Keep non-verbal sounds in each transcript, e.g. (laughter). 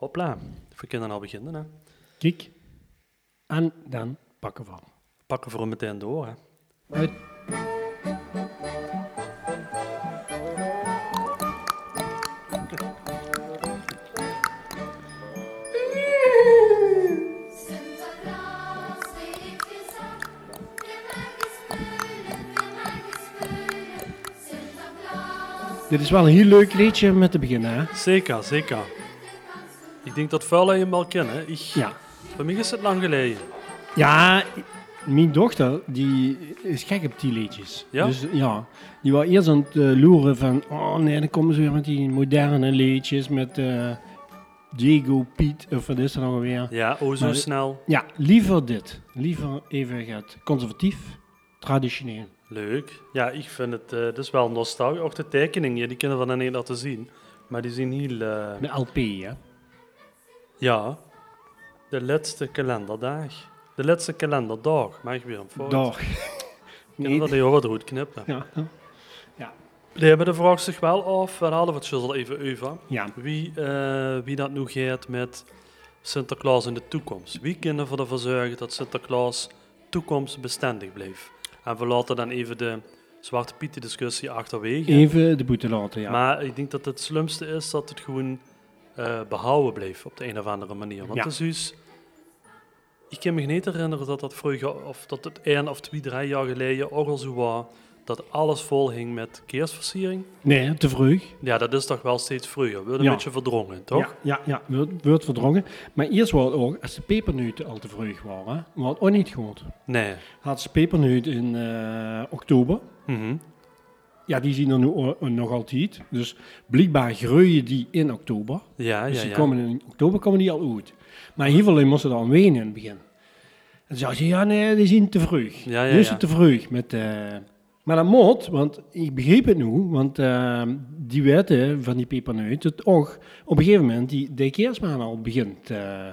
Hopla, we kunnen al beginnen. Hè. Kijk. En dan Eh, pakken we al. Pakken we er meteen door. Hè. Uit. Sinterklaas heeft gezegd, geef mij die spullen, geef mij die spullen. Sinterklaas, Dit is wel een heel leuk liedje om met te beginnen, hè? Zeker, zeker. Ik denk dat vuil je hem wel kent. Hè. Ik, Ja. Voor mij is het lang geleden. Ja, mijn dochter, die is gek op die liedjes. Ja? Dus ja, die was eerst aan het eh, loeren van... Oh nee, dan komen ze weer met die moderne liedjes, met eh Diego, Piet, of wat is er nog alweer? Ja, oh zo Maar- snel. Ja, liever dit. Liever even gaat conservatief, traditioneel. Leuk. Ja, ik vind het eh dus wel nostalgisch. Ook de tekeningen, ja, die kunnen we dan niet laten zien. Maar die zien heel... eh, Een LP, hè? ja, de laatste kalenderdag. De laatste kalenderdag. Mag ik weer een foto? Dag. Kunnen we Nee. die horen eruit knippen? Ja. Die hebben de vraag zich wel af. We hadden we het zo al even over. ja, Wie, eh, wie dat nu gaat met Sinterklaas in de toekomst. Wie kunnen we ervoor zorgen dat Sinterklaas toekomstbestendig blijft? En we laten dan even de Zwarte Pieten discussie achterwege. even de boete laten, ja. Maar ik denk dat het slimste is dat het gewoon eh, behouden blijft op de een of andere manier. Want Ja. het is dus, ik kan me niet herinneren dat dat vroeger, of dat het één of twee, drie jaar geleden ook al zo was, dat alles vol hing met kerstversiering. Nee, te vroeg. Ja, dat is toch wel steeds vroeger. We worden Ja. een beetje verdrongen, toch? Ja, ja, ja wordt, wordt verdrongen. Maar eerst was het ook, als de pepernoten al te vroeg waren, was het ook niet goed. Nee. Had ze pepernoot in eh, oktober, Mhm. ja, die zien er nu o- nog altijd. Dus blijkbaar groeien die in oktober. Ja, Dus ja, die ja. komen in oktober komen die al uit. Maar in ieder geval moesten dan wenen in het begin. En zeiden ze, ja nee, die zien te vroeg. Ja, ja, Die is ja. het te vroeg. Met, eh, Maar dat moet, want ik begreep het nu, want eh, die wetten van die peperneut, dat ook op een gegeven moment die dekeersmaan al begint eh,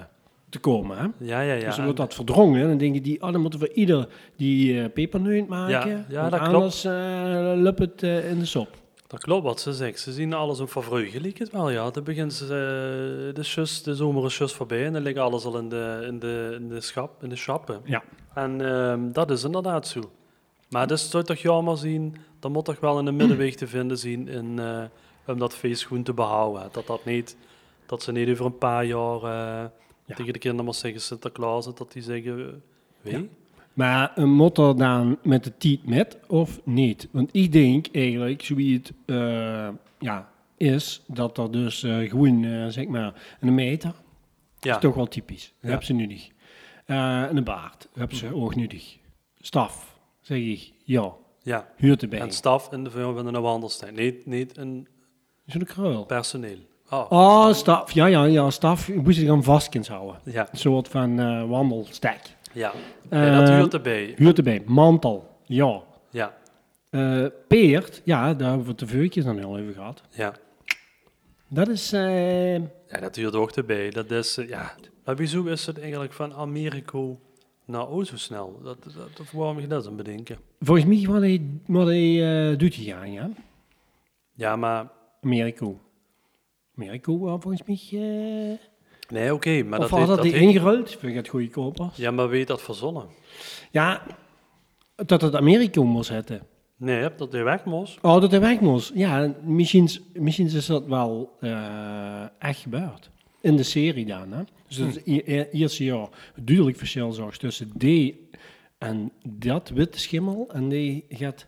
te komen. Hè? Ja, ja, ja. dus dan wordt dat verdrongen en dan denken die, oh, dan moeten we ieder die eh peperneut maken, Ja, ja, want dat klopt. anders eh lupt het eh, in de sop. Dat klopt wat ze zegt. Ze zien alles een vervreugde, lijkt het wel. Ja, dan begint ze, eh, de, sjus, de zomer is just voorbij en dan ligt alles al in de, in de, in de, schap, in de schappen. Ja. En ehm, dat is inderdaad zo. Maar dat zou je toch jammer zien, dat moet toch wel in de middenweg te vinden zien in, eh, om dat feest gewoon te behouden. hè. Dat, dat, niet, dat ze niet over een paar jaar eh, Ja. tegen de kinderen maar zeggen Sinterklaas, dat die zeggen, eh, wie? Ja. Maar een moet er dan met de tiet met of niet? Want ik denk eigenlijk, zoals het eh, ja, is, dat er dus eh, gewoon, eh, zeg maar, een meter, Ja. is toch wel typisch. Ja. Heb ze nuttig. Eh een baard, heb ze ook nuttig. Staf, zeg ik, ja, ja. huurt erbij. En staf in de nou vorm van een handelstijd. Niet, niet een Zo'n kruil. personeel. Oh, Oh, staf, ja, ja, ja, staf. Je moet zich aan vast kunnen houden. ja. Een soort van eh wandelstek. Ja, ja dat Eh, hoort erbij. Huurt erbij, mantel, ja. Ja, Eh, peert, ja, daar hebben we het de veukjes dan heel even gehad. ja. Dat is. eh, ja dat hoort ook erbij. Dat is, eh, ja. Maar wieso is het eigenlijk van Amerika naar o zo snel? Dat, dat, of waarom je dat aan bedenken? volgens mij wat hij, wat hij eh, doet hij aan, ja. Ja, maar... Americo. Americo, eh, volgens mij. eh, Nee, oké, maar of dat, had heeft- dat dat hij heeft- ingeruild? Vind ik het goede kopers. Ja. Ja, maar weet dat verzonnen? dat het Americo moest zetten. Nee, dat hij weg moest. Oh, dat hij weg moest. Ja, misschien, misschien is dat wel eh, echt gebeurd. In de serie dan, hè. Dus dat is Hm. i- i- eerste jaar duidelijk verschil zag tussen D en dat witte schimmel. En die gaat...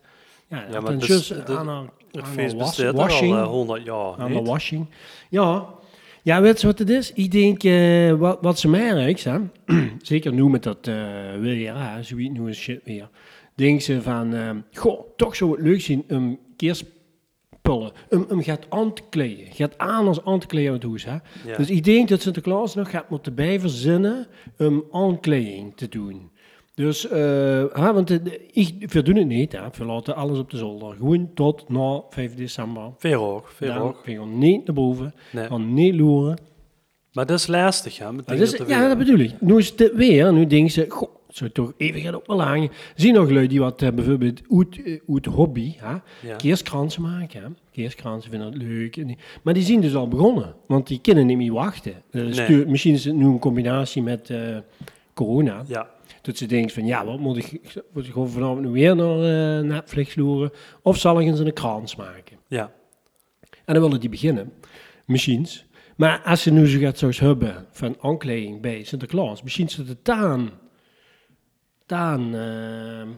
Ja, maar dan het is- juist het- aan haar- Het aan feest haar was- bestaat er al Ah, nou, washing. Ah, nou, eh, 100 jaar. aan de niet? washing. Ja. Ja, weet je wat het is? Ik denk, eh, wat, wat ze merkt, hè, (clears throat) zeker nu met dat eh weer, hè, zoiets nu is shit weer. Denken ze van, ehm, goh, toch zou het leuk zijn om keerspullen, om, om gaat aan te kleden. Gaat aan als aan te kleden uit het huis. Hè. Ja. Dus ik denk dat Sinterklaas nog gaat moeten bijverzinnen om aankleding te doen. Dus, eh, hè, want eh, ik, we doen het niet, hè. we laten alles op de zolder. Gewoon tot na 5 december. Veel hoog, veel Dan hoog. kun je gewoon niet naar boven, Nee. gewoon niet loeren. Maar dat is lastig, hè? Met Dat dingen is- te ja, dat weren. bedoel ik. Nu is het weer, nu denken ze, goh, zou toch even gaan op willen hangen. Zie nog lui die wat eh, bijvoorbeeld uit, eh, uit hobby, hè, Ja. keerskransen maken. Hè. Keerskransen vinden dat leuk. En die- Maar die zien dus al begonnen, want die kunnen niet meer wachten. Eh, stuur- misschien is het nu een combinatie met eh, corona. Ja, Dat ze denkt van, ja, wat moet ik, moet ik gewoon vanavond nu weer naar eh, Netflix loeren? Of zal ik eens een krans maken? ja, En dan willen die beginnen, misschien. Maar als ze nu zo gaat zoals hebben van aankleding bij Sinterklaas, misschien ze de taan, taan, eh,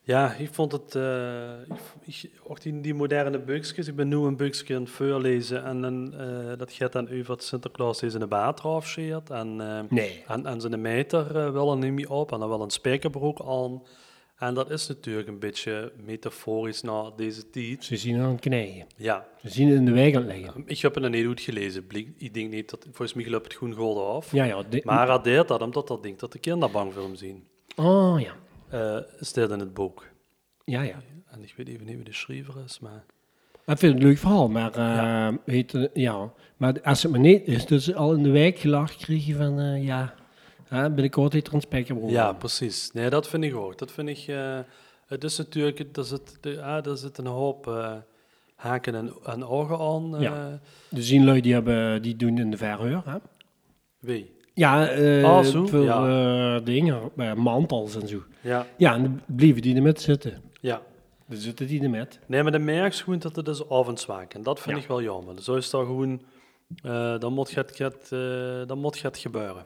ja, ik vond het. eh, ik, v- ik, ook die, die moderne buksjes. Ik ben nu een buksje aan het voorlezen. En dan, eh, dat gaat dan over dat Sinterklaas deze in de baard afscheert. En, eh, nee. en, en zijn meter eh, wel een niet op. En dan wel een spijkerbroek aan. En dat is natuurlijk een beetje metaforisch naar deze tijd. Ze zien aan het knijden. Ja, Ze zien het in de wijk aan het liggen. ik heb het dan heel goed gelezen. Blik- Ik denk niet dat. Volgens mij loopt het groen golden af. Ja, ja. de- Maar hij deed dat omdat dat denkt dat de kinderen bang voor hem zien. Oh, ja. Eh staat in het boek. Ja, ja. En ik weet even niet wie de schrijver is, maar... Ik vind het een leuk verhaal, maar, eh, weet, eh, ja. maar als het maar niet is, dus al in de wijk gelachen kreeg je van, eh, ja, hè, binnenkort heet er een spijkerbroek. Ja, Ja. precies. Nee, dat vind ik ook. Dat vind ik... eh, het is natuurlijk... Er zit, de, ah, daar zit een hoop eh, haken en, en ogen aan. eh, Ja. Dus zien lui die, hebben, die doen in de verhuur, hè? Wie? Ja, eh Ah, zo, veel ja. eh, dingen, eh, mantels en zo. Ja, Ja, en dan blieven die er met zitten. ja. Dan zitten die er met. Nee, maar dan merk je gewoon dat het is avondzwaak. En dat vind Ja. ik wel jammer. Zo is dat gewoon... eh, dan moet het, het, eh, dan moet het (clears throat) gebeuren.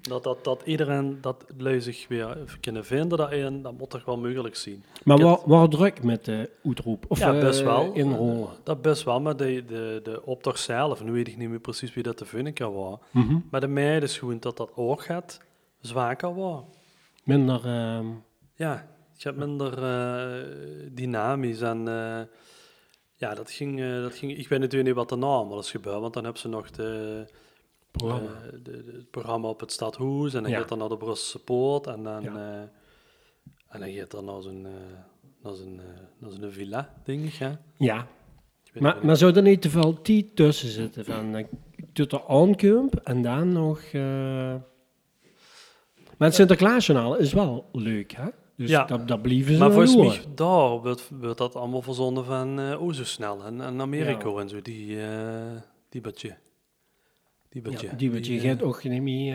dat, dat, dat iedereen dat lui zich weer kunnen vinden daarin, dat moet toch wel mogelijk zien. Maar Ik heb- waar, waar druk met de uitroep? Of ja, eh, best wel. inrollen? Dat best wel, maar de, de, de optocht zelf, nu weet ik niet meer precies wie dat te vinden kan worden. Mhm. Maar de meiden is gewoon dat dat oog gaat zwakker worden. Minder, ehm, Ja, je hebt minder eh, dynamisch en eh, ja, dat ging, eh, dat ging, ik weet natuurlijk niet wat de naam wel is gebeurd, want dan hebben ze nog de, Programma. eh, de- de- het programma op het Stadhuis en dan Ja. gaat dan naar de Brusselse Poort en dan, Ja. eh, en dan gaat dan naar zo'n, eh, naar zo'n, eh, naar zo'n villa, denk ik, hè? Ik ja. weet Maar, niet. maar zou er niet te veel tijd tussen zitten? Van, eh, tot de aankomst en dan nog... eh, Maar het Sinterklaasjournaal is wel leuk, hè? Dus Ja. dat, dat blijven ze Maar wel volgens doen. mij, daar wordt, wordt dat allemaal verzonnen van eh oh zo snel en, en Amerika en zo, die, eh, die budget. Die budget. Ja, die wat je eh, gaat ook niet meer...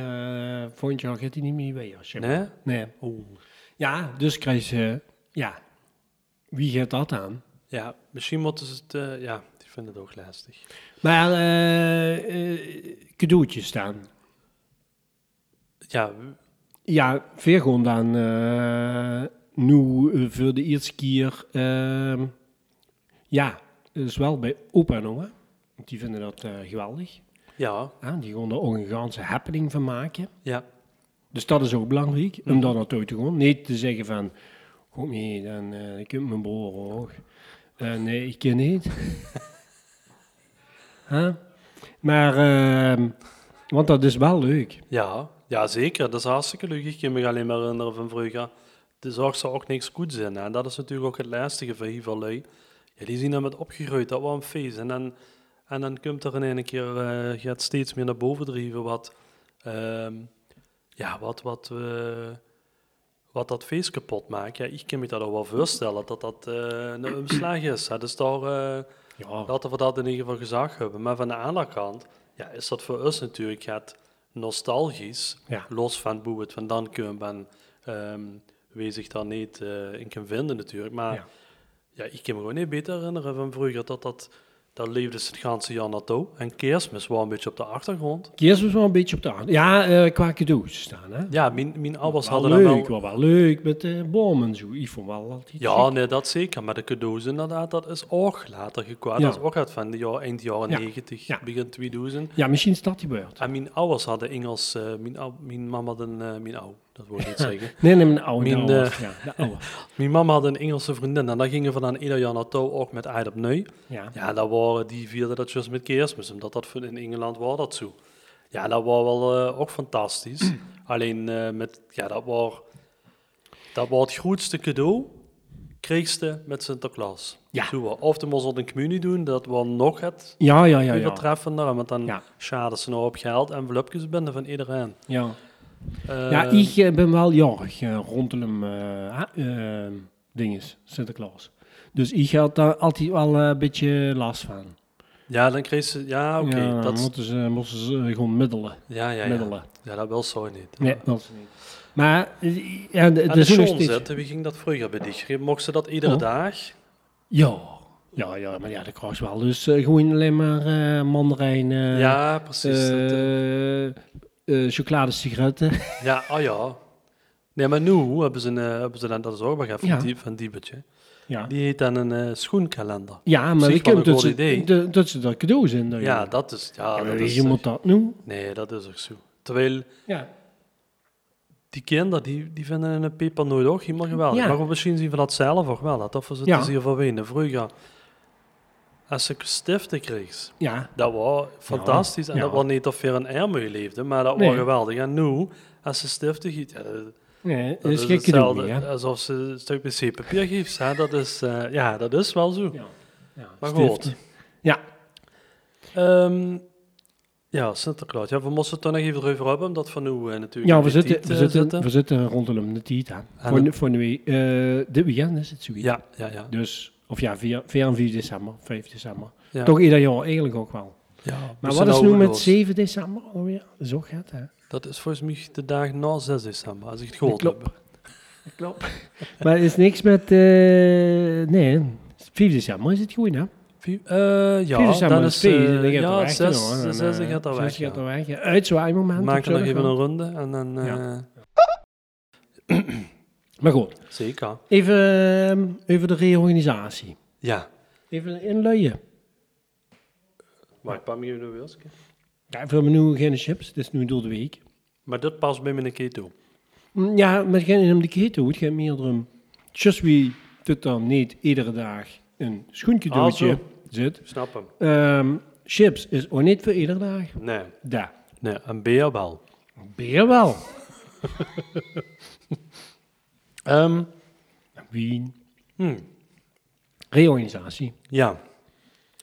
eh, volgend jaar gaat die niet meer weer. als je- Nee? nee. Oeh. Ja, dus krijg je... Ja, wie gaat dat aan? Ja, misschien moeten ze het, eh, ja, ik vind het ook lastig. Maar eh, eh, cadeautjes staan. Ja, Ja, veel gewoon dan eh, nu eh, voor de eerste keer. ehm, ja, dus wel bij opa en oma. Want die vinden dat eh, geweldig. ja, hè. die gaan er ook een ganse happening van maken. ja, Dus dat is ook belangrijk, Mhm. om dat naartoe te gaan. Niet te zeggen van, kom mee, dan eh ik heb mijn broer ook. Eh, nee, ik ken (laughs) niet. Huh? Maar, ehm, want dat is wel leuk. ja, ja, zeker. Dat is hartstikke leuk. Ik kan me alleen maar herinneren van vroeger. De zorg zou ook niks goed zijn. hè. En dat is natuurlijk ook het lastige van hier van lui. Ja, die zien hem met opgegroeid, dat was een feest. En dan, en dan komt er in één keer, eh gaat steeds meer naar boven drijven wat, ehm, ja, wat, wat, eh, wat dat feest kapot maakt. Ja, ik kan me dat al wel voorstellen, dat dat eh, een omslag is. Hè. Dus daar... eh, Ja, Laten we dat in ieder geval gezag hebben. Maar van de andere kant ja, is dat voor ons natuurlijk het nostalgisch. Ja. Los van hoe we het vandaan kunnen. Ben, ehm wie zich daar niet eh, in kan vinden natuurlijk. Maar ja. Ja. ik kan me gewoon niet beter herinneren van vroeger dat dat... Dat leefde ze het ganse jaar naartoe. En kerstmis was een beetje op de achtergrond. kerst was wel een beetje op de aard. Ja, eh, qua cadeaus staan, hè. Ja, mijn, mijn ouders Wel hadden leuk, dan wel... wel, wel leuk, met eh bomen en zo. Ik vond wel altijd Ja, nee, dat zeker. Maar de cadeaus inderdaad, dat is ook later gekomen. Ja. Dat is ook uit van de jaar, eind jaren Ja. 90, Ja. begin 2000. Ja, misschien is dat die beurt. En mijn ouders hadden Engels, eh, mijn, ou- mijn mama had een, eh, mijn ou, dat wil ik (laughs) niet zeggen. Nee, nee, mijn oude. Mijn, de oude, eh, ja, de (laughs) oude. Mijn mama had een Engelse vriendin en daar gingen we dan ieder jaar naartoe, ook met Eid op Neu. Ja. Ja, daar waren die vierden dat juist met kerstmis, omdat dat voor- in Engeland was dat zo. Ja, dat was wel eh, ook (clears throat) fantastisch. Alleen eh, met, ja, dat was, dat was het grootste cadeau, kreegste met Sinterklaas. Ja. Zo, was. of de moest dat een communie doen, dat was nog het Ja, ja, ja. Ja, overtreffende, want dan nou Ja. schaden ze nog op geld en envelopjes binnen van iedereen. ja. Eh, ja, ik eh, ben wel jarig eh, rondom hem eh, ha- eh, dinges, Sinterklaas. Dus ik had daar altijd wel eh, een beetje last van. ja, dan kreeg ze... Ja, Ah, oké. ja, dat, is- moeten ze, moesten ze eh, gewoon middelen. ja, ja, ja. middelen. ja, dat wil zo niet. Nee, dat is niet. Maar eh, ja, de, En de Ah, de zoen is schoon steeds- zetten, wie ging dat vroeger bij die? Mocht ze dat iedere Oh. dag? Ja. Ja, ja, maar ja, dat kost wel. Dus eh, gewoon alleen maar eh mandarijn, eh, ja, precies. dat, eh, eh, eh, (laughs) chocoladesigaretten. Ja, oh ja. Nee, maar nu hebben ze, een, eh, hebben ze dan, dat is ook maar even Ja. die, van Diebetje. Ja, Die heet dan een eh, schoenkalender. ja Op maar zich ik wel heb een dat, goed ze- idee. de- dat ze daar cadeaus in doen. Ja, dat is... Ja, Oh, Ja, maar dat wie is moet echt- dat nu? Nee, dat is ook zo. Terwijl Ja. die kinderen, die, die vinden een pepernoot ook helemaal geweldig. Ja. Maar we misschien zien we dat zelf ook wel. Dat of ze Ja. het hier van wenen. Vroeger, als ik stiften kreeg, Ja. dat was fantastisch. En Ja. dat was niet of weer een ermee leefde, maar dat Nee. was geweldig. En nu, als ze stiften giet, ja, dat- Nee, dat, dat is is geen cadeau hetzelfde meer, hè? alsof ze een stuk wc-papier geeft. Hè? Dat is, eh, ja, dat is wel zo. Ja. Ja, Maar stift. goed. Ja. Ehm, ja, Sinterklaas. Ja, we moesten het toch nog even erover hebben, omdat van nu eh, natuurlijk... Ja, in die we zitten, tijd, we, eh, zitten, we zitten rondom de tijd aan. Aan Voor, de- voor de week. eh, dit weekend is het zoiets. Ja, ja, ja. Dus, of ja, 4, 4 en 4 december, 5 december. ja. Toch ieder jaar eigenlijk ook wel. Ja, Maar we wat zijn is nu met ouderloos. 7 december alweer? Zo gaat hè? Dat is volgens mij de dag na 6 december, als ik het gehoord klopt. heb. Klopt. maar er is niks met... eh, nee, 4 december is het goed, hè? Vi- eh, Vier ja, december dan is is... 4, eh, dan gaat er ja, weg. zes, hoor. de En, zesde eh, gaat er zesde weg. ja. gaat er weg, ja. Uitzwaaimoment. We maken op nog even zondag een wel. ronde en dan... eh, Ja. Maar goed, Zeker. even, ehm, even de reorganisatie. Ja. Even inluien. Maar ik pak me even een Ja, voor me nu geen chips, het is nu door de week. Maar dat past bij mijn keto. Mm, Ja, maar het gaat niet om de keto, het gaat meer om... Just wie doet dan niet iedere dag een schoencadeautje Ah, zo. zit. Snap hem. Ehm, chips is ook niet voor iedere dag. Nee. Daar. Nee, een beer wel. Beer wel. (laughs) Ehm, Wien. hm, Reorganisatie. Ja.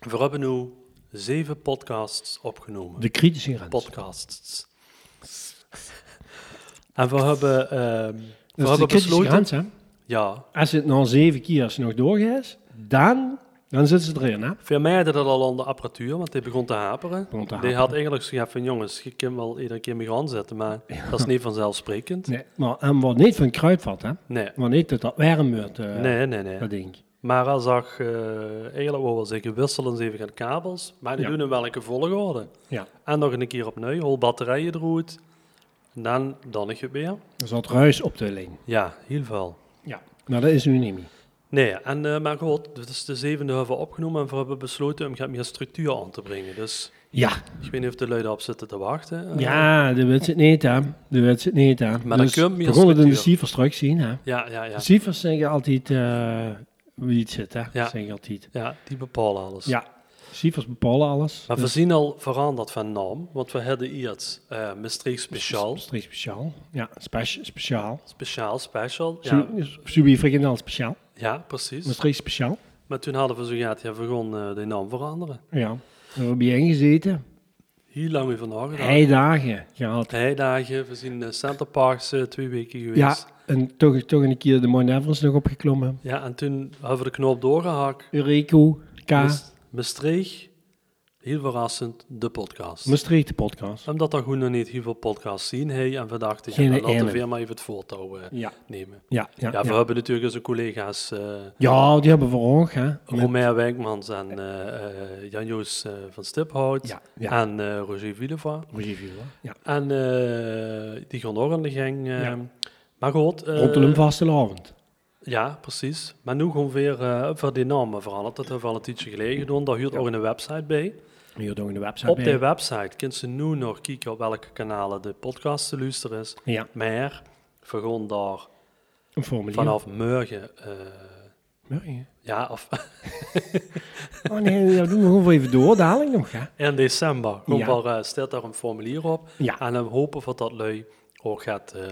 We hebben nu zeven podcasts opgenomen. De kritische grens. podcasts. En we hebben, ehm, we dat is Dus de hebben kritische besloten... grens, hè? Ja, Als het nou zeven keer nog doorgaat, dan, dan zitten ze erin, hè? Voor mij deed dat al aan de apparatuur, want die begon te haperen. Begon te Die haperen. had eigenlijk gezegd van jongens, je kan wel iedere keer mee gaan zetten, maar (laughs) dat is niet vanzelfsprekend. Nee. Maar, en wat niet van kruidvat, hè? Nee, Maar niet dat dat warm wordt, eh, nee, nee. nee. dat ding. Maar als zag eh eigenlijk wou wel zeggen, wisselen ze even aan kabels, maar die Ja. doen in welke volgorde. Ja. En nog een keer opnieuw, hol batterijen eruit. En dan, dan ik het weer. Er zat ruis op de lijn. Ja, heel veel. Ja. Maar dat is nu niet meer. Nee, en, eh, maar goed, dit is de zevende hebben we opgenomen en we hebben besloten om gaat meer structuur aan te brengen. Dus Ja. ik weet niet of de luiden op zitten te wachten. eh. Ja, de wet zit niet aan. De wet zit niet aan. Maar dan dus kun je hem we hier konden de structuur. cijfers straks zien, hè? Ja, ja, ja. Cijfers zeggen altijd eh, wie het zit, hè? Ja. Zeggen altijd. Ja, die bepalen alles. Ja. Cijfers bepalen alles. Maar we Dus- zien al veranderd van naam, want we hadden eerst eh Maastricht Speciaal, Streek speciaal. Ja, specia- speciaal. Speciaal, Special. Ja, Dus- Ja. Subie frikandel speciaal. ja precies. Maastricht speciaal. Maar toen hadden we zo gehad, ja, we gaan eh, de naam veranderen. Ja. Daar heb je ingezeten. Heel lang mee van gedaan. Heidagen gehad. Heidagen, we zien eh, Center Parks eh, twee weken geweest. Ja, en toch, toch een keer de Mount Everest nog opgeklommen. Ja, en toen hebben we de knoop doorgehakt. Eureko, K. Maas- Maastricht, heel verrassend, de podcast. Maastricht de podcast. Omdat er gewoon nog niet heel veel podcasts zien, hey, en we dachten, Geen ja, dan laten ene. we weer maar even het voortouw eh, Ja. nemen. Ja, ja, Ja, ja. we hebben natuurlijk onze collega's... eh, Ja, die hebben we ook, Oh, hè. Romain Wijkmans en eh, eh, Jan-Joos eh, van Stiphout. Ja, ja. En eh, Roger Villeva. Ja. En eh, die gaan ook aan de gang. eh. Ja. Maar goed. eh, Rondom vastelavond. Ja, precies. Maar nu gewoon weer eh, voor die namen veranderd. Dat hebben we al een tijdje geleden gedaan. Daar huurt ook een website bij. Hier doen we de website Op bij. die website kun je nu nog kijken op welke kanalen de podcast te luisteren is. Ja, Maar we gaan daar een formulier. vanaf morgen... eh, Morgen. ja, of Oh nee, dat doen we gewoon even door, dadelijk nog, hè. in december. Gewoon Ja. wel, eh, stelt daar een formulier op. Ja. En dan hopen we dat lui ook gaat eh,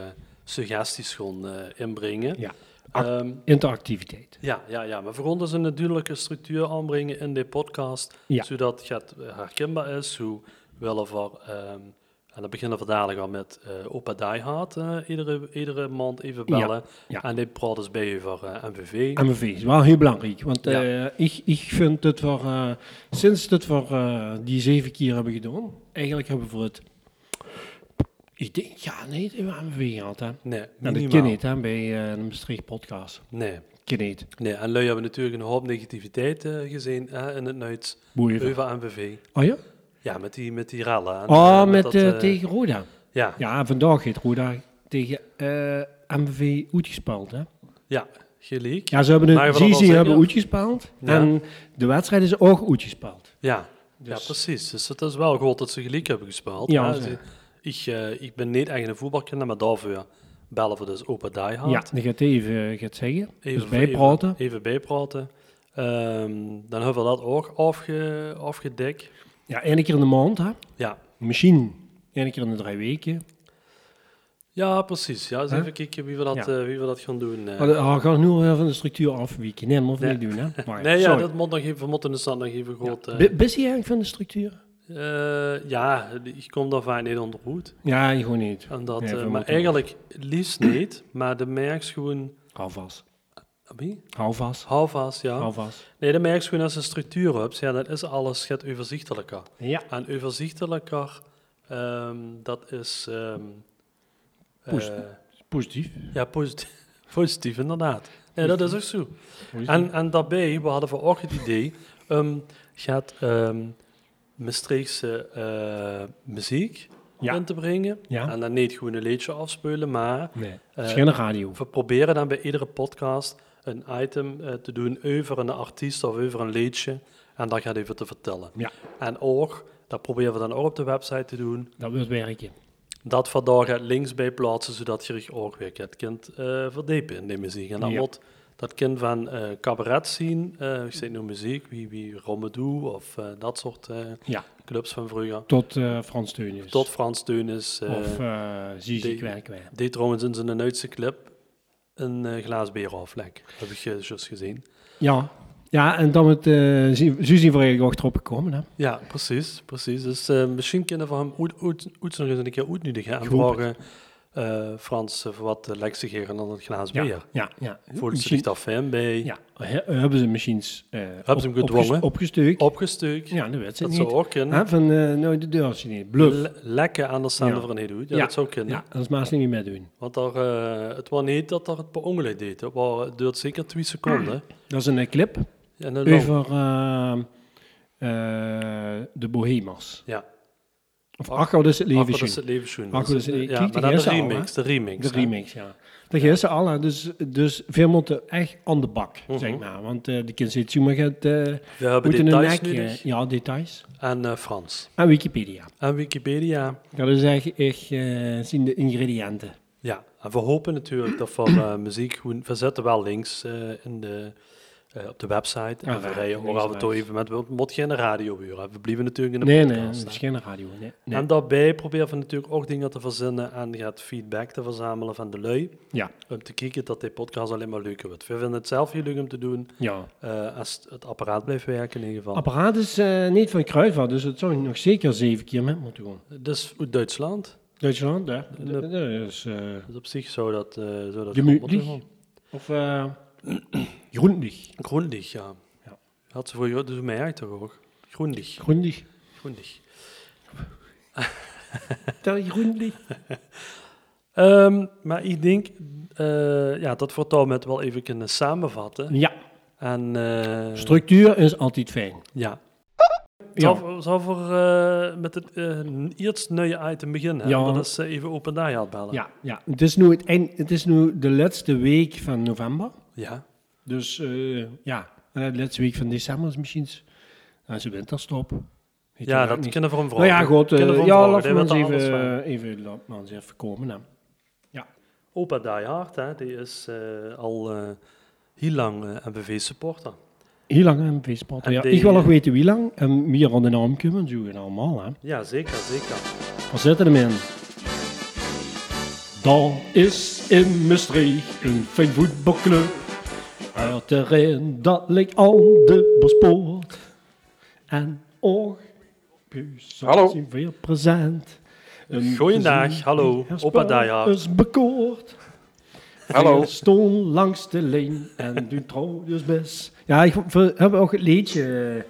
suggesties gewoon eh, inbrengen. Ja. Ehm, Ah. Interactiviteit. ja, ja, ja. Maar voor ons is een natuurlijke structuur aanbrengen in de podcast, Ja. eh, zodat het herkenbaar is. Hoe willen we ehm, En dan beginnen we dadelijk al met eh Opa Die Hard. eh, iedere, iedere maand even bellen. ja. En die praat dus bij je voor eh, MVV. MV is wel heel belangrijk, want Ja. eh, ik, ik vind dat we eh, sinds dat we eh, die zeven keer hebben gedaan, eigenlijk hebben we voor het, ik denk, ja nee, het hebben we MV gehad hè. Nee, En Nou, dat minimaal. kan niet hè, bij eh de Maastricht podcast. Nee, Kan niet. nee. En lui hebben natuurlijk een hoop negativiteit eh, gezien eh, in het Nuits. Boeien. Uva MVV. Oh ja? Ja, met die, met die rellen. en, eh, Oh, met, dat, eh, eh, tegen Roda. Ja, Ja, vandaag heeft Roda tegen eh, MV uitgespeeld hè. ja. Geliek. Ja. Ja, ze hebben Maar je het wil wel Zizi hebben zeggen- uitgespeeld Ja. en de wedstrijd is ook uitgespeeld. Ja. Dus- precies. Dus het is wel goed dat ze gelijk hebben gespeeld. Ja, hè. ze- Ze- ik, eh, ik ben niet echt een voetbalkinder, maar daarvoor bellen we dus Opa Die Hard. Ja, dan gaat hij even eh, gaat zeggen, dus even- bijpraten. Even, bijpraten. Ehm, dan hebben we dat ook afge, afgedekt. Ja, één keer in de maand, hè? Ja. Misschien één keer in de drie weken. ja, precies. Ja, eens Huh? even kijken wie we dat, Ja. eh, wie we dat gaan doen. eh. Maar dat- ah, ga nu weer van de structuur afwieken. Nee, dat moet Nee. niet doen, (laughs) hè? Maar, nee, ja, sorry. dat moet nog even, we moeten de stand nog even goed... Ja. eh, B- Bist je eigenlijk van de structuur? eh, ja, ik kom daar vaak niet onderhoed. Ja, gewoon niet. En dat, Nee, eh, we maar moeten- eigenlijk liefst niet, maar de merks gewoon... Hou vast. Wie? Hou vast. Hou vast, ja. Hou vast. Nee, de merks gewoon als een structuur hebt. Ja, dat is alles gaat overzichtelijker. Ja. En overzichtelijker, ehm, dat is... ehm, Poes- eh, Positief. Ja, positief, (laughs) positief inderdaad. Nee, dat is ook zo. Positief. En, en daarbij, we hadden vanochtend het idee, ehm, gaat ehm Maastrichtse eh, muziek Ja. in te brengen. Ja. En dan niet gewoon een liedje afspelen, maar Nee, het is eh, geen radio. we proberen dan bij iedere podcast een item eh, te doen over een artiest of over een liedje. En dat gaat even te vertellen. Ja. En ook, dat proberen we dan ook op de website te doen, Dat wil werken. dat vandaag het links bij plaatsen, zodat je zich ook weer het kunt eh, verdiepen in de muziek. En dat Ja. wordt dat kind van eh, cabaret zien, eh ik zeg nu muziek, wie, wie Rommedoe of eh, dat soort eh, Ja. clubs van vroeger. Tot eh, Frans Teunis. Tot Frans Teunis, eh Of eh Zizi de- Kwerkwijn. deed trouwens in zijn Duitse clip een eh glaas bier aflek. Heb ik eh, juist gezien. Ja. Ja, en dan met eh Suzy voor eigenlijk ook erop gekomen, hè? Ja, precies, precies. Dus eh, misschien kunnen we hem ooit- ooit ooit nog eens een keer uitnodigen en Ik hoop vragen eh, Frans eh, voor wat uh, geven dan het glaas bier. Ja. Ja. ja. Voelt ze Misschien- zich daar fan bij? Ja, he- hebben ze misschien eh ze hem gedwongen? opgestuurd. Opgestuukt. ja, dat weet ze dat niet. zou ook kunnen. Hè, van, eh nou, de deur is niet. Bluff. Le- lekker aan de Ja. Sander van Hedoet. Ja, Ja. dat zou kunnen. ja, dat is Maas niet meer meedoen. Want daar, eh, het was niet dat daar het per ongeluk deed. Het wa- het duurt zeker twee seconden. Dat is een eh, clip En dan over eh, eh, de Bohemers. Ja, Of Akko, dus het Ach, leven. dat is Schoen. het leven schoen. Ach, dat is- eh, ik ja, kijk maar de dan de eerste al, remix. De remix. De hè. remix, ja. Dat is ze alle. Dus, dus veel moeten echt aan de bak, Mhm. zeg maar. Want eh de kind zit zo maar gaat... eh We hebben moeten een details dus? nek, eh, nodig. Ja, details. En eh, Frans. En Wikipedia. En Wikipedia. Dat is echt, echt eh, zien de ingrediënten. Ja, en we hopen natuurlijk dat we eh, muziek gewoon... We zetten wel links eh, in de, eh, op de website. Ah, en we rijden links ook af en toe langs. even met... We moeten geen radiobuur hebben. We blijven natuurlijk in de Nee, nee, podcast. het hè. is geen radio. Nee, nee. En daarbij proberen we natuurlijk ook dingen te verzinnen en gaat feedback te verzamelen van de lui. Ja, Om te kijken dat die podcast alleen maar leuker wordt. We vinden het zelf heel leuk om te doen. ja. eh, als het- het apparaat blijft werken in ieder geval. Apparaat is eh, niet van Kruijvaart, dus dat zou je nog zeker zeven keer met moeten doen. dus uit Duitsland. Duitsland, ja. D- De- Dat is... eh, Dus op zich zou dat... eh zou dat De goed Muutlich. moeten gaan. of eh Groenlich. Groenlich, ja. Ja. Had ze voor jou, dus mij eigenlijk toch ook. Groenlich, Groenlich. Groenlich. Tel je Groenlich? Ehm, maar ik denk eh, ja, dat we het al met wel even kunnen samenvatten. Ja, En, eh, structuur is altijd fijn. ja, Ja, Zal, zal voor eh, met het eh eerst nieuwe item beginnen? Ja. Ja. Dat is eh, even open daar bellen. ja, ja. Het, is nu het, eind, het is nu de laatste week van november. ja. Dus eh, ja, en de laatste week van december is misschien... s- Dat is de winterstop. Weet Ja, je dat niet. kunnen we hem Nou vragen. ja, goed. eh, Kunnen we hem ja, vragen, laten die we weet ons er even, alles van. eh, even, laten we ons even komen. hè. Opa Die Hard, hè, die is eh, al eh, heel lang eh MVV-supporter. Heel lang een feestpot. En Ja, die- eh, ik wil nog weten wie lang en wie er aan de naam komen. Zo en allemaal. Hè. Ja, zeker, zeker. Wat zit er hem in? Dan is in Maastricht een fijn voetbalclub. Uit erin dat ligt aan de bespoort. En och, Puus Hallo. zijn veel present. Een Goeiedag, zin hallo, als oppa daar. is bekoord. Hallo. Hij stond langs de leen en doet trouw dus best. Ja, ik we hebben ook het liedje, eh,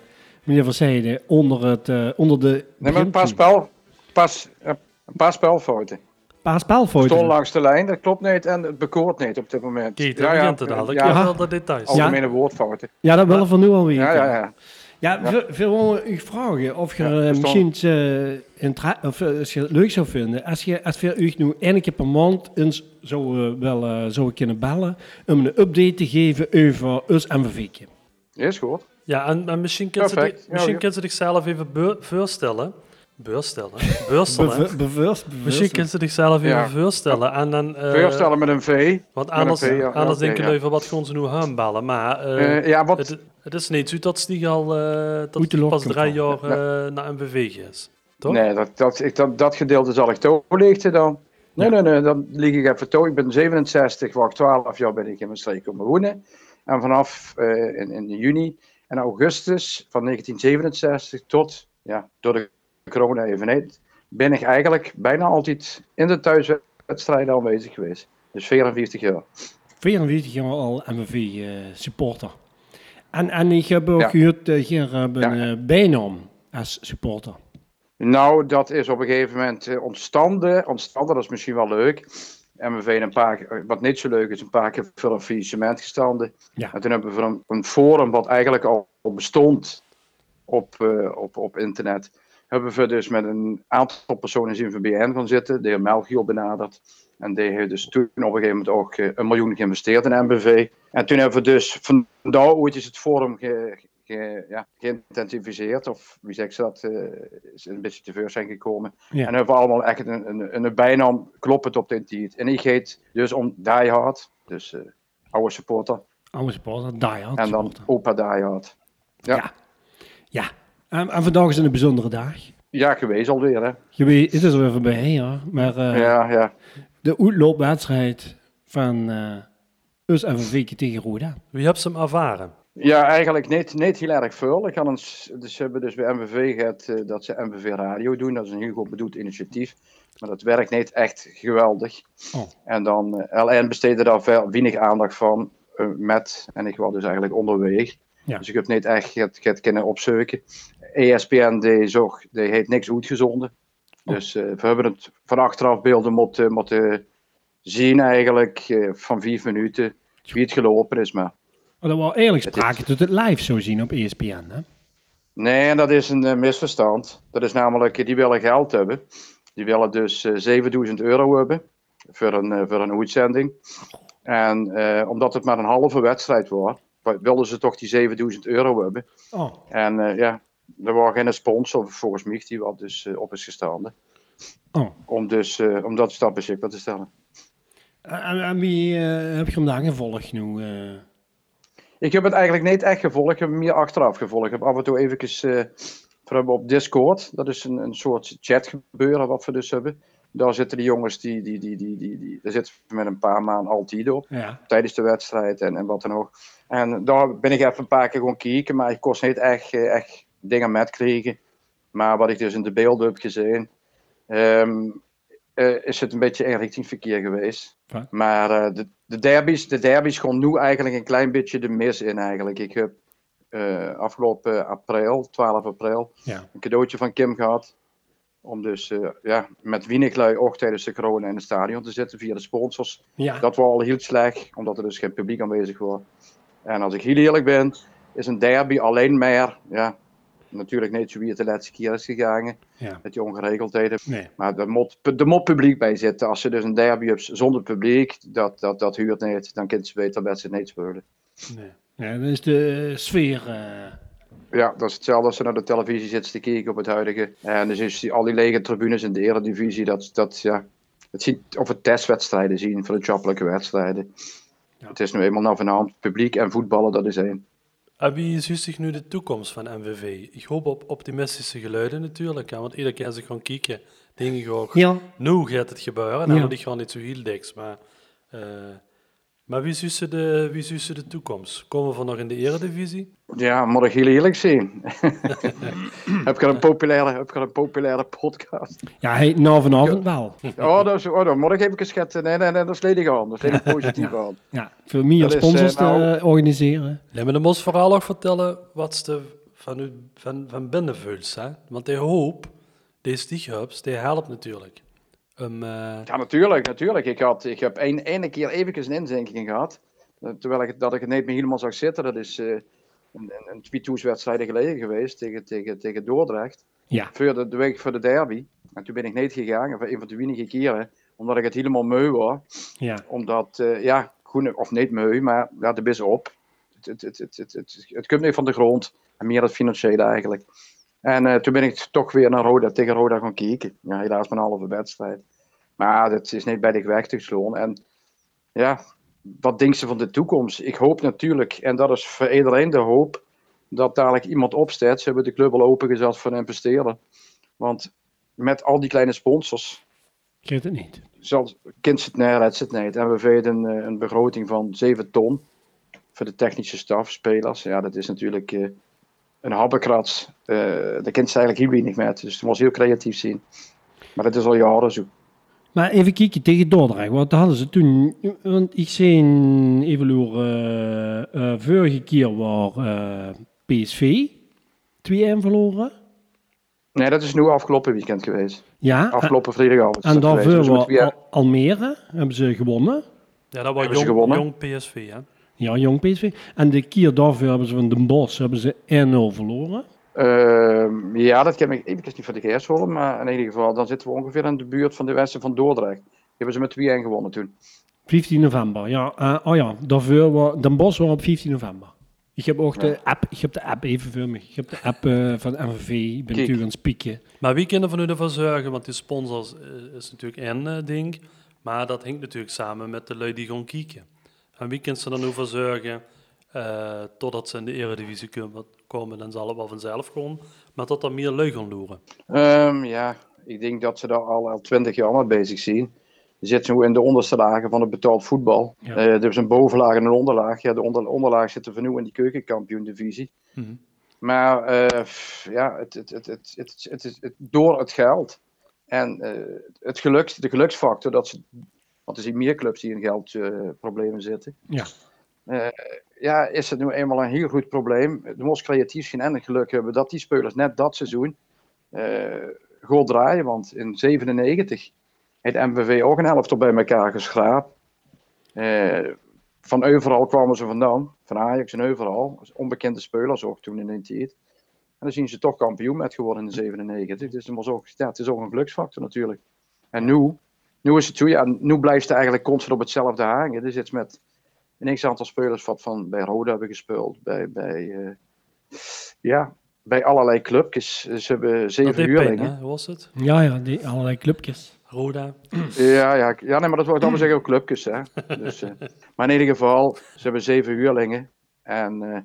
meneer Van Zijden, onder, het, eh, onder de... Nee, maar een paar, begintoon. spel, pas, eh, een paar spelfouten. Paar spelfouten. Stond langs de lijn, dat klopt niet en het bekoort niet op dit moment. Kijk, daar begint het al. Ik heb ja, wel Oh, de details. Ja. algemene woordfouten. Ja, dat willen we nu alweer. Ja, ja, ja. Ja, Ja. we we willen u vragen of je Ja, eh, verstaan. misschien eh, intra- of, eh, als je het leuk zou vinden, als je als we u nu één keer per maand eens zou wel eh, zouden kunnen bellen om een update te geven over ons MVV'tje. Is goed. Ja, en, en misschien kunnen ze, Perfect. die- Ja, misschien ja. kunnen ze zichzelf even beur- voorstellen. Beurstellen? Beurstelen. Beve- Bewust, Misschien bewust. kunnen ze zichzelf even Ja. voorstellen. En dan, eh, Voorstellen met een V. Want Met een anders, V, ja. anders Ja, denken oké, we ja. van wat gaan ze nu aanbellen. Maar eh, Eh, ja, wat, het, het is niet zo dat ze die al eh, dat Moet de die lok pas komt drie van. jaar eh, naar MVV is. toch? Nee, dat, dat, ik, dat, dat gedeelte zal ik toch lichten dan. Nee, nee, nee, dan lieg ik even toe. Ik ben 67, waar ik 12 jaar ben ik in Maastricht komen wonen. En vanaf eh, in, in juni en augustus van 1967 tot, ja, door de corona even niet, ben ik eigenlijk bijna altijd in de thuiswedstrijden aanwezig geweest. Dus 44 jaar. 44 jaar al MVV-supporter. En, en ik heb ook Ja. gehoord dat je een Ja. eh, bijnaam als supporter. Nou, dat is op een gegeven moment eh, ontstanden. Ontstanden, dat is misschien wel leuk. MVV een paar, keer- wat niet zo leuk is, een paar keer voor een faillissement gestanden. Ja. En toen hebben we voor een, een forum, wat eigenlijk al, al bestond op, eh, op, op internet, hebben we dus met een aantal personen zien van BN gaan zitten. De heer Melchior benaderd. En die heeft dus toen op een gegeven moment ook eh, een miljoen geïnvesteerd in MBV. En toen hebben we dus van daar ooit is het forum ge, ge- ja, geïntensificeerd. Of wie zegt ze dat? eh, is een beetje te ver zijn gekomen. Ja. En hebben we allemaal echt een, een, een bijnaam kloppend op de tiet. En ik heet dus om Die Hard. Dus eh, oude supporter. Oude supporter, die hard En dan supporter. opa Die Hard. Ja. Ja. ja. En, en vandaag is een bijzondere dag. Ja, geweest alweer, hè? Je weet, het is er weer voorbij, ja. Maar eh, Ja, ja. de uitloopwedstrijd van eh US MVV tegen Roda. Wie hebt ze hem ervaren? Ja, eigenlijk niet, niet heel erg veel. Ik had eens, dus ze hebben dus bij MVV gehad eh, dat ze MVV Radio doen. Dat is een heel goed bedoeld initiatief. Maar dat werkt niet echt geweldig. Oh. En dan, eh, LN besteedde daar veel, weinig aandacht van eh, met. En ik was dus eigenlijk onderweg. Ja. Dus ik heb niet echt het, het kunnen E opzoeken. ESPN, die, zog, die heeft niks uitgezonden. Oh. Dus eh, we hebben het van achteraf beelden moeten, moeten zien eigenlijk. eh, van vier minuten. Wie het gelopen is, maar... Maar Oh, dat was eigenlijk Het sprake tot het live zo zien op E ESPN. Hè? Nee, dat is een eh, misverstand. Dat is namelijk, eh, die willen geld hebben. Die willen dus eh, 7000 euro hebben voor een, eh, voor een uitzending. En eh, omdat het maar een halve wedstrijd was, wa- wilden ze toch die 7000 euro hebben. Oh, En eh, ja, er was geen sponsor volgens mij die wat dus eh, op is gestaande. oh. Om, dus, eh, om dat stap beschikbaar te stellen. En, en wie eh, heb je hem daar gevolgd nu? eh? Ik heb het eigenlijk niet echt gevolgd, ik heb hem meer achteraf gevolgd. Ik heb af en toe even eh we hebben op Discord, dat is een, een soort chatgebeuren wat we dus hebben. Daar zitten die jongens, die, die, die, die, die, die, daar zitten we met een paar maanden altijd op, ja. tijdens de wedstrijd en, en wat dan ook. En daar ben ik even een paar keer gewoon kijken, maar ik kost niet echt, eh, echt dingen met krijgen. Maar wat ik dus in de beelden heb gezien, ehm, eh, is het een beetje inrichtingverkeer geweest. Wat? Maar eh, de, de derbies, de derbies gaan nu eigenlijk een klein beetje de mis in eigenlijk. Ik heb eh, afgelopen april, 12 april, ja. een cadeautje van Kim gehad. Om dus eh, ja, met Wieniglui ook tijdens de corona in het stadion te zitten via de sponsors. Ja. Dat was al heel slecht, omdat er dus geen publiek aanwezig was. En als ik heel eerlijk ben, is een derby alleen maar, ja, natuurlijk niet zo wie het de laatste keer is gegaan, ja. met die ongeregeldheden. Nee. Maar er moet, er moet publiek bij zitten. Als ze dus een derby hebben zonder publiek, dat, dat, dat huurt niet. Dan kunnen ze beter wedstrijd niet spelen. nee. Ja, dat is de sfeer. eh. Ja, dat is hetzelfde als ze naar de televisie zitten te kijken op het huidige. En dus is die, al die lege tribunes in de eredivisie, dat, dat ja... Het ziet, of het testwedstrijden zien voor de jobbelijke wedstrijden. Ja. Het is nu eenmaal naar vanavond publiek en voetballen, dat is één. En wie is juist zich nu de toekomst van MVV? Ik hoop op optimistische geluiden natuurlijk. hè, want iedere keer als ik gewoon kijken, denk ik ook... Ja. Nu gaat het gebeuren. Nou, Ja. die gaan niet zo heel diks, maar... eh, Maar wie is de, wie is de toekomst? Komen we van nog in de eredivisie? Ja, morgen heel eerlijk (laughs) zien. heb, ik al een populaire, heb ik al een populaire (laughs) podcast? Ja, hey, nou vanavond wel. Oh, dat is, oh dan morgen heb ik een schet. Nee, nee, nee, dat is ledig aan. Dat is ledig positief aan. Ja, voor meer Dat is, eh, sponsors te nou- eh, organiseren. Laat me de mos verhaal nog vertellen wat ze van, u, van, van binnen vult. Hè? Want die hoop, die stichhubs, die helpt natuurlijk. Um, Ja, natuurlijk, natuurlijk. Ik, had, ik heb één ene keer eventjes een inzinking gehad. Eh, Terwijl ik, het- dat ik het niet meer helemaal zag zitten. Dat is eh, een, een, een tweetoeswedstrijd geleden geweest tegen, tegen, tegen Dordrecht. Ja. Voor de, de week voor de derby. En toen ben ik niet gegaan, voor een van de weinige keren. Omdat ik het helemaal meu was. Ja. Omdat, eh, ja, groene, of niet meu, maar ja, de bis op. Het, het, het, het, het, het, het komt niet van de grond. En meer het financiële eigenlijk. En eh, toen ben ik toch weer naar Roda, tegen Roda gaan kijken. Ja, helaas mijn halve wedstrijd. Maar dat is niet bij de weg te slaan. En ja, wat denkt ze van de toekomst? Ik hoop natuurlijk, en dat is voor iedereen de hoop, dat dadelijk iemand opstaat. Ze hebben de club al opengezet voor investeren. Want met al die kleine sponsors, Ik weet het niet. zelfs kind zit neer, het zit niet. En we veden een, eh, een begroting van 7 ton voor de technische staf, spelers. Ja, dat is natuurlijk eh, een habbekrats. Eh daar kind ze eigenlijk heel weinig met. Dus het was heel creatief zien. Maar dat is al jaren zo. Maar even kijken tegen Dordrecht. Want hadden ze toen... Want ik zie even loer, eh, eh, vorige keer waar eh, PSV 2-1 verloren. Nee, dat is nu afgelopen weekend geweest. Ja. Afgelopen vrijdagavond. is En dat geweest. daarvoor Dus was moeten we weer- Al- Almere. Hebben ze gewonnen. ja, dat was Hebben ze jong, gewonnen? jong PSV. Hè? Ja, jong PSV. En de keer daarvoor hebben ze van Den Bosch hebben ze 1-0 verloren. Ehm, ja, dat kan ik even niet van de geest horen. Maar in ieder geval, dan zitten we ongeveer in de buurt van de westen van Dordrecht. Die hebben ze met 2-1 gewonnen toen. 15 november, ja. eh, oh ja, daarvoor was Den Bosch was op 15 november. Ik heb ook de app, ik heb de app even voor me. Ik heb de app eh, van MVV, ik ben Kijk. natuurlijk aan het spieken. Maar wie kunnen van u ervan zorgen? Want die sponsors eh, is natuurlijk één eh, ding. Maar dat hangt natuurlijk samen met de lui die gaan kieken. En wie kan ze dan over zorgen eh, totdat ze in de eredivisie kunnen- komen? Dan zal het wel vanzelf gewoon. Maar dat er meer lui gaan loeren. Ehm, ja, ik denk dat ze daar al, al 20 jaar mee bezig zijn. Je zit zo in de onderste lagen van het betaald voetbal. Ja. Eh, er is een bovenlaag en een onderlaag. Ja, de onder, onderlaag zit er van nu in die keukenkampioen-divisie. Mhm. Maar eh, pff, ja, het, het, het, het, het, het, is- het- door het geld en eh, het geluks, de geluksfactor, dat ze, want er zijn meer clubs die in geldproblemen zitten. Ja. Eh, ja, is het nu eenmaal een heel goed probleem. De most creatief geen enig geluk hebben dat die spelers net dat seizoen eh goed draaien. Want in 97 heeft MVV ook een helft op bij elkaar geschraapt. Eh, van overal kwamen ze vandaan. Van Ajax en overal. Onbekende spelers ook toen in die tijd. En dan zien ze toch kampioen met geworden in 97. Dus dat was ook, ja, het is ook een geluksfactor natuurlijk. En nu, nu is het zo, ja, nu blijft ze eigenlijk constant op hetzelfde hangen. Er zit met een x-aantal spelers wat van bij Roda hebben gespeeld. Bij, bij, eh, ja, bij allerlei clubjes. Ze hebben Dat zeven deed pijn, hè? huurlingen. Hoe was het? Ja, ja, die allerlei clubjes. Roda. Ja, ja, ja nee, maar dat wil ik allemaal zeggen ook clubjes. Hè. Dus, eh, maar in ieder geval, ze hebben zeven huurlingen. En eh,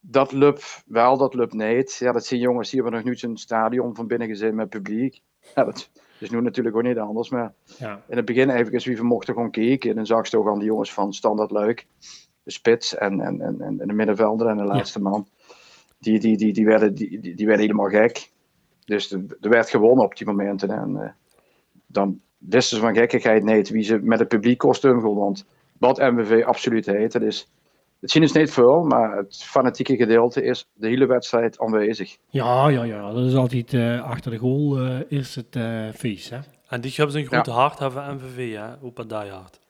dat lukt wel, dat lukt niet. Ja, dat zien jongens hier hebben nog nu zijn stadion van binnen gezien met publiek. Ja, dat is nu natuurlijk ook niet anders. Maar Ja. in het begin even wie vermocht er gewoon kijken. En dan zag je ook aan de jongens van Standard Luik, de spits en, en, en, en en de middenvelder en de laatste man. Die, die, die, die, werden, die, die, die werden helemaal gek. Dus de- er werd gewonnen op die momenten. En eh, dan wisten ze van gekkigheid niet wie ze met het publiek kostuum gewoon. Want wat MWV absoluut heet, dat is. Het zien is niet veel, maar het fanatieke gedeelte is de hele wedstrijd aanwezig. ja, ja, ja. Dat is altijd eh, achter de goal eh, is het eh feest, hè. En die hebben een goed hart hebben MVV, hè? Op en die hard.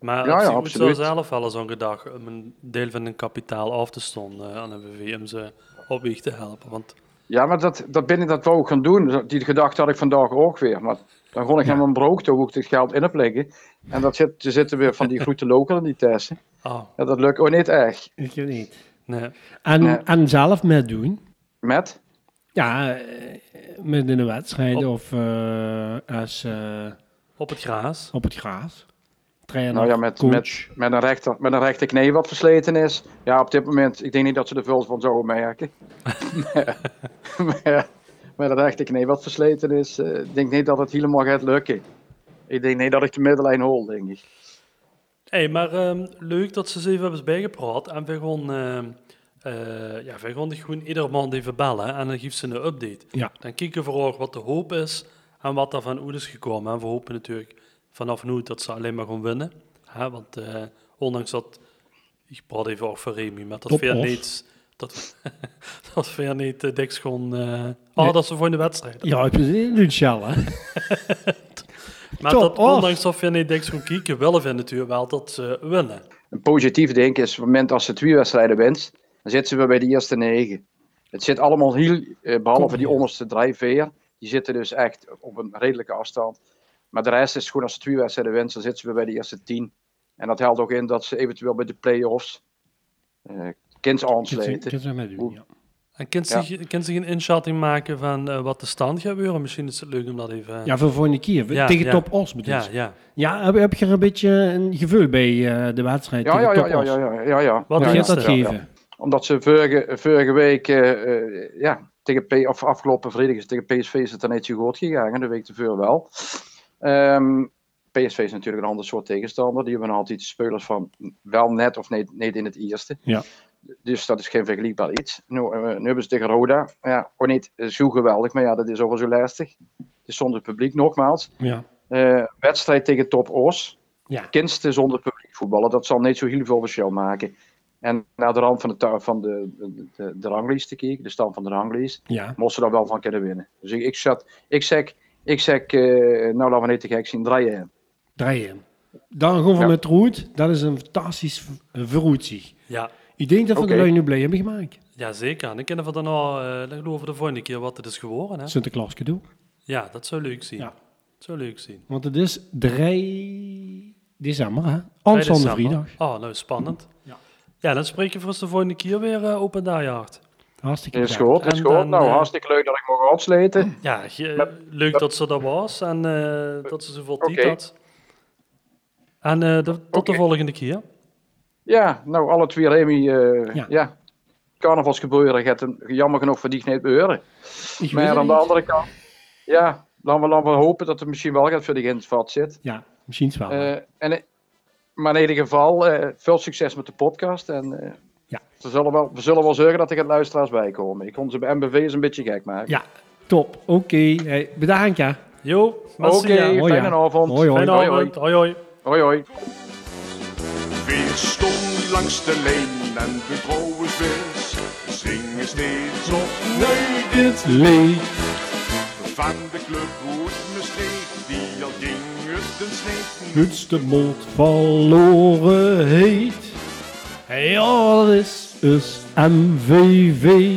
Maar Ja, op ja, zich moet ze absoluut. zelf wel eens aan gedacht om een deel van hun kapitaal af te stonden eh, aan MVV om ze op weg te helpen. Want Ja, maar dat, dat ben ik dat wou ik gaan doen. Die gedachte had ik vandaag ook weer. Maar dan kon ik hem een broek toe, hoe ik het geld in heb liggen. En dat zit, er zitten weer van die grote local in die testen. ah, Ja, dat lukt ook niet echt. Ik weet niet. nee. En, Nee. en zelf meedoen. Met? Ja, eh, met in de wedstrijd Op- of eh, als, eh, Op het gras. op het gras. Trainer, Nou ja, met, coach. met, met, een rechter, met een rechter knie wat versleten is. Ja, op dit moment, ik denk niet dat ze er veel van zouden merken. maar, (laughs) ja, met een rechter knie wat versleten is, eh, ik denk niet dat het helemaal gaat lukken. Ik denk niet dat ik de middellijn hol, denk ik. Hey, maar ehm, leuk dat ze eens even hebben bijgepraat. En we gewoon, ehm, eh, ja, we gewoon, gewoon iedere maand even bellen en dan geeft ze een update. Ja. Dan kijken we vooral wat de hoop is en wat er van Oed is gekomen. En we hopen natuurlijk vanaf nu dat ze alleen maar gaan winnen. Hè, want eh, ondanks dat, ik praat even over Remy, maar dat Top weer off. niet... Dat, (laughs) dat weer niet eh, Dix gewoon... eh oh, Nee. dat is de volgende wedstrijd. Ja, heb je zin in inshallah. Maar Top dat off. ondanks dat weer niet Dix gewoon kieken, willen we natuurlijk wel dat ze winnen. Een positief denken is op het moment als ze twee wedstrijden wint, dan zitten ze weer bij de eerste negen. Het zit allemaal heel, eh, behalve die onderste drijfveer, die zitten dus echt op een redelijke afstand. Maar de rest is gewoon als ze twee wedstrijden wint, dan zitten ze weer bij de eerste tien. En dat helpt ook in dat ze eventueel bij de play-offs eh kind aansluiten. Kunt u met doen, ja. En kunt Ja. zich, kunt zich een inschatting maken van eh, wat de stand gaat gebeuren? Misschien is het leuk om dat even... Ja, voor de volgende keer. Ja, tegen ja. Top Os bedoel ja, je. ja. Ja, heb, heb je er een beetje een gevoel bij eh, de wedstrijd Ja, tegen ja, ja, Top ja, Os? ja, ja, ja, ja. Wat ja, Wie ja, gaat dat ja, geven? Omdat ze vorige, vorige week, eh, eh, ja, tegen P, of afgelopen vrijdag is tegen PSV is het dan ietsje goed gegaan, de week tevoren wel. Ehm, PSV is natuurlijk een ander soort tegenstander. Die hebben altijd spelers van wel net of niet, niet in het eerste. Ja. Dus dat is geen vergelijkbaar iets. Nu, eh, nu hebben ze tegen Roda. Ja, ook niet zo geweldig, maar ja, dat is ook wel zo lastig. Het is zonder publiek, nogmaals. Ja. Eh, wedstrijd tegen Top Os. Ja. Kinsten zonder publiek voetballen, dat zal niet zo heel veel verschil maken. En naar de rand van de, tu- van de, de, de, de ranglijst te kijken, de stand van de ranglijst, Ja. moesten ze daar wel van kunnen winnen. Dus ik, ik, zat, ik zeg, ik zeg eh, nou laten we niet te gek zien, draaien. Draaien. Dan gewoon van Ja. met Roet. Dat is een fantastisch v- verroetie. ja, Ik denk dat we de Oké. lui nu blij hebben gemaakt. ja, zeker. En ik ken van daarna, eh dan geloof ik de volgende keer wat het is geworden. Hè? Sinterklaas cadeau. Ja, dat zou leuk zien. Ja. Dat zou leuk zien. Want het is 3 december, hè? Bij Aanstaande december. vrijdag. Oh, nou spannend. Ja. Ja, dan spreek je voor ons de volgende keer weer eh, op een dagjaard. Hartstikke Is bedankt. goed, is En goed. dan, Nou, eh, hartstikke leuk dat ik mocht afsluiten. Ja, ge- Ja. leuk dat ze er was en eh, dat ze zoveel tijd Oké. had. En eh, de- tot Oké. de volgende keer. Ja, nou, alle twee Remy, eh Ja. ja. carnavalsgebeuren gaat hem jammer genoeg voor die niet beuren. Ik weet Maar het aan de niet. andere kant, ja, laten we, laten we hopen dat het misschien wel gaat voor de in het vat zit. Ja, misschien wel. Eh, en, eh, maar in ieder geval, eh, veel succes met de podcast. En, eh, Ja. we, zullen wel, we zullen wel zorgen dat er geen luisteraars bij komen. Ik kon ze bij MBV's een beetje gek maken. ja, top. Oké. Hey, bedankt, ja. Jo, Oké, merci, ja. Hoi, ja. fijne avond. Hoi, hoi. Fijne Hoi, hoi. avond. Hoi, hoi. hoi, hoi. Weer stond langs de leen en de vrouwenbus zingen steeds opnieuw dit Leed. Van de club hoort me steek, die al ging het een sneek. Gutste mond verloren heet. Ja, dat is dus us MVV.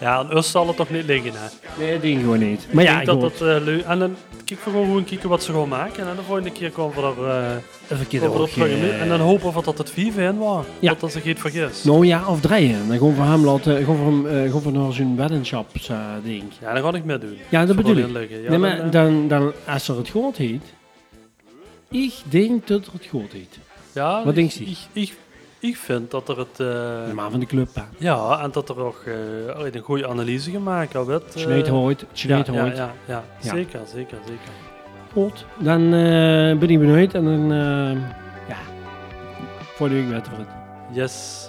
Ja, aan ons zal het toch niet liggen, hè? Nee, dat ding gewoon niet. Maar ja, ik ik denk hoor dat het. dat eh, leuk... En dan kijken we gewoon, gewoon kijken wat ze gaan maken. En de volgende keer komen we er, eh Even kijken komen we ook, er terug in. eh, En dan hopen we dat het 5 in was. Ja. Dat dat zich niet vergis. Nou ja, of draaien. Dan gewoon voor hem laten, gewoon voor, hem, eh, gewoon voor naar zijn weddenschaps eh, ding. Ja, dan ga ik mee doen. Ja, dat Voor bedoel ik. inleggen. Ja, nee, dan, maar eh, dan, dan, als er het goed heet. Ik denk dat er het goed heet. ja, wat ik- denk je? Ik, ik, ik vind dat er het... eh, De man van de club. hè. ja, en dat er ook eh, een goede analyse gemaakt wordt. eh. Sneed hooit, Ja, sneed ja, hooit. ja, ja. Ja. Zeker, zeker, zeker. Goed. Dan eh, ben ik benieuwd en dan. eh ja. Voor de week weten we het. Yes.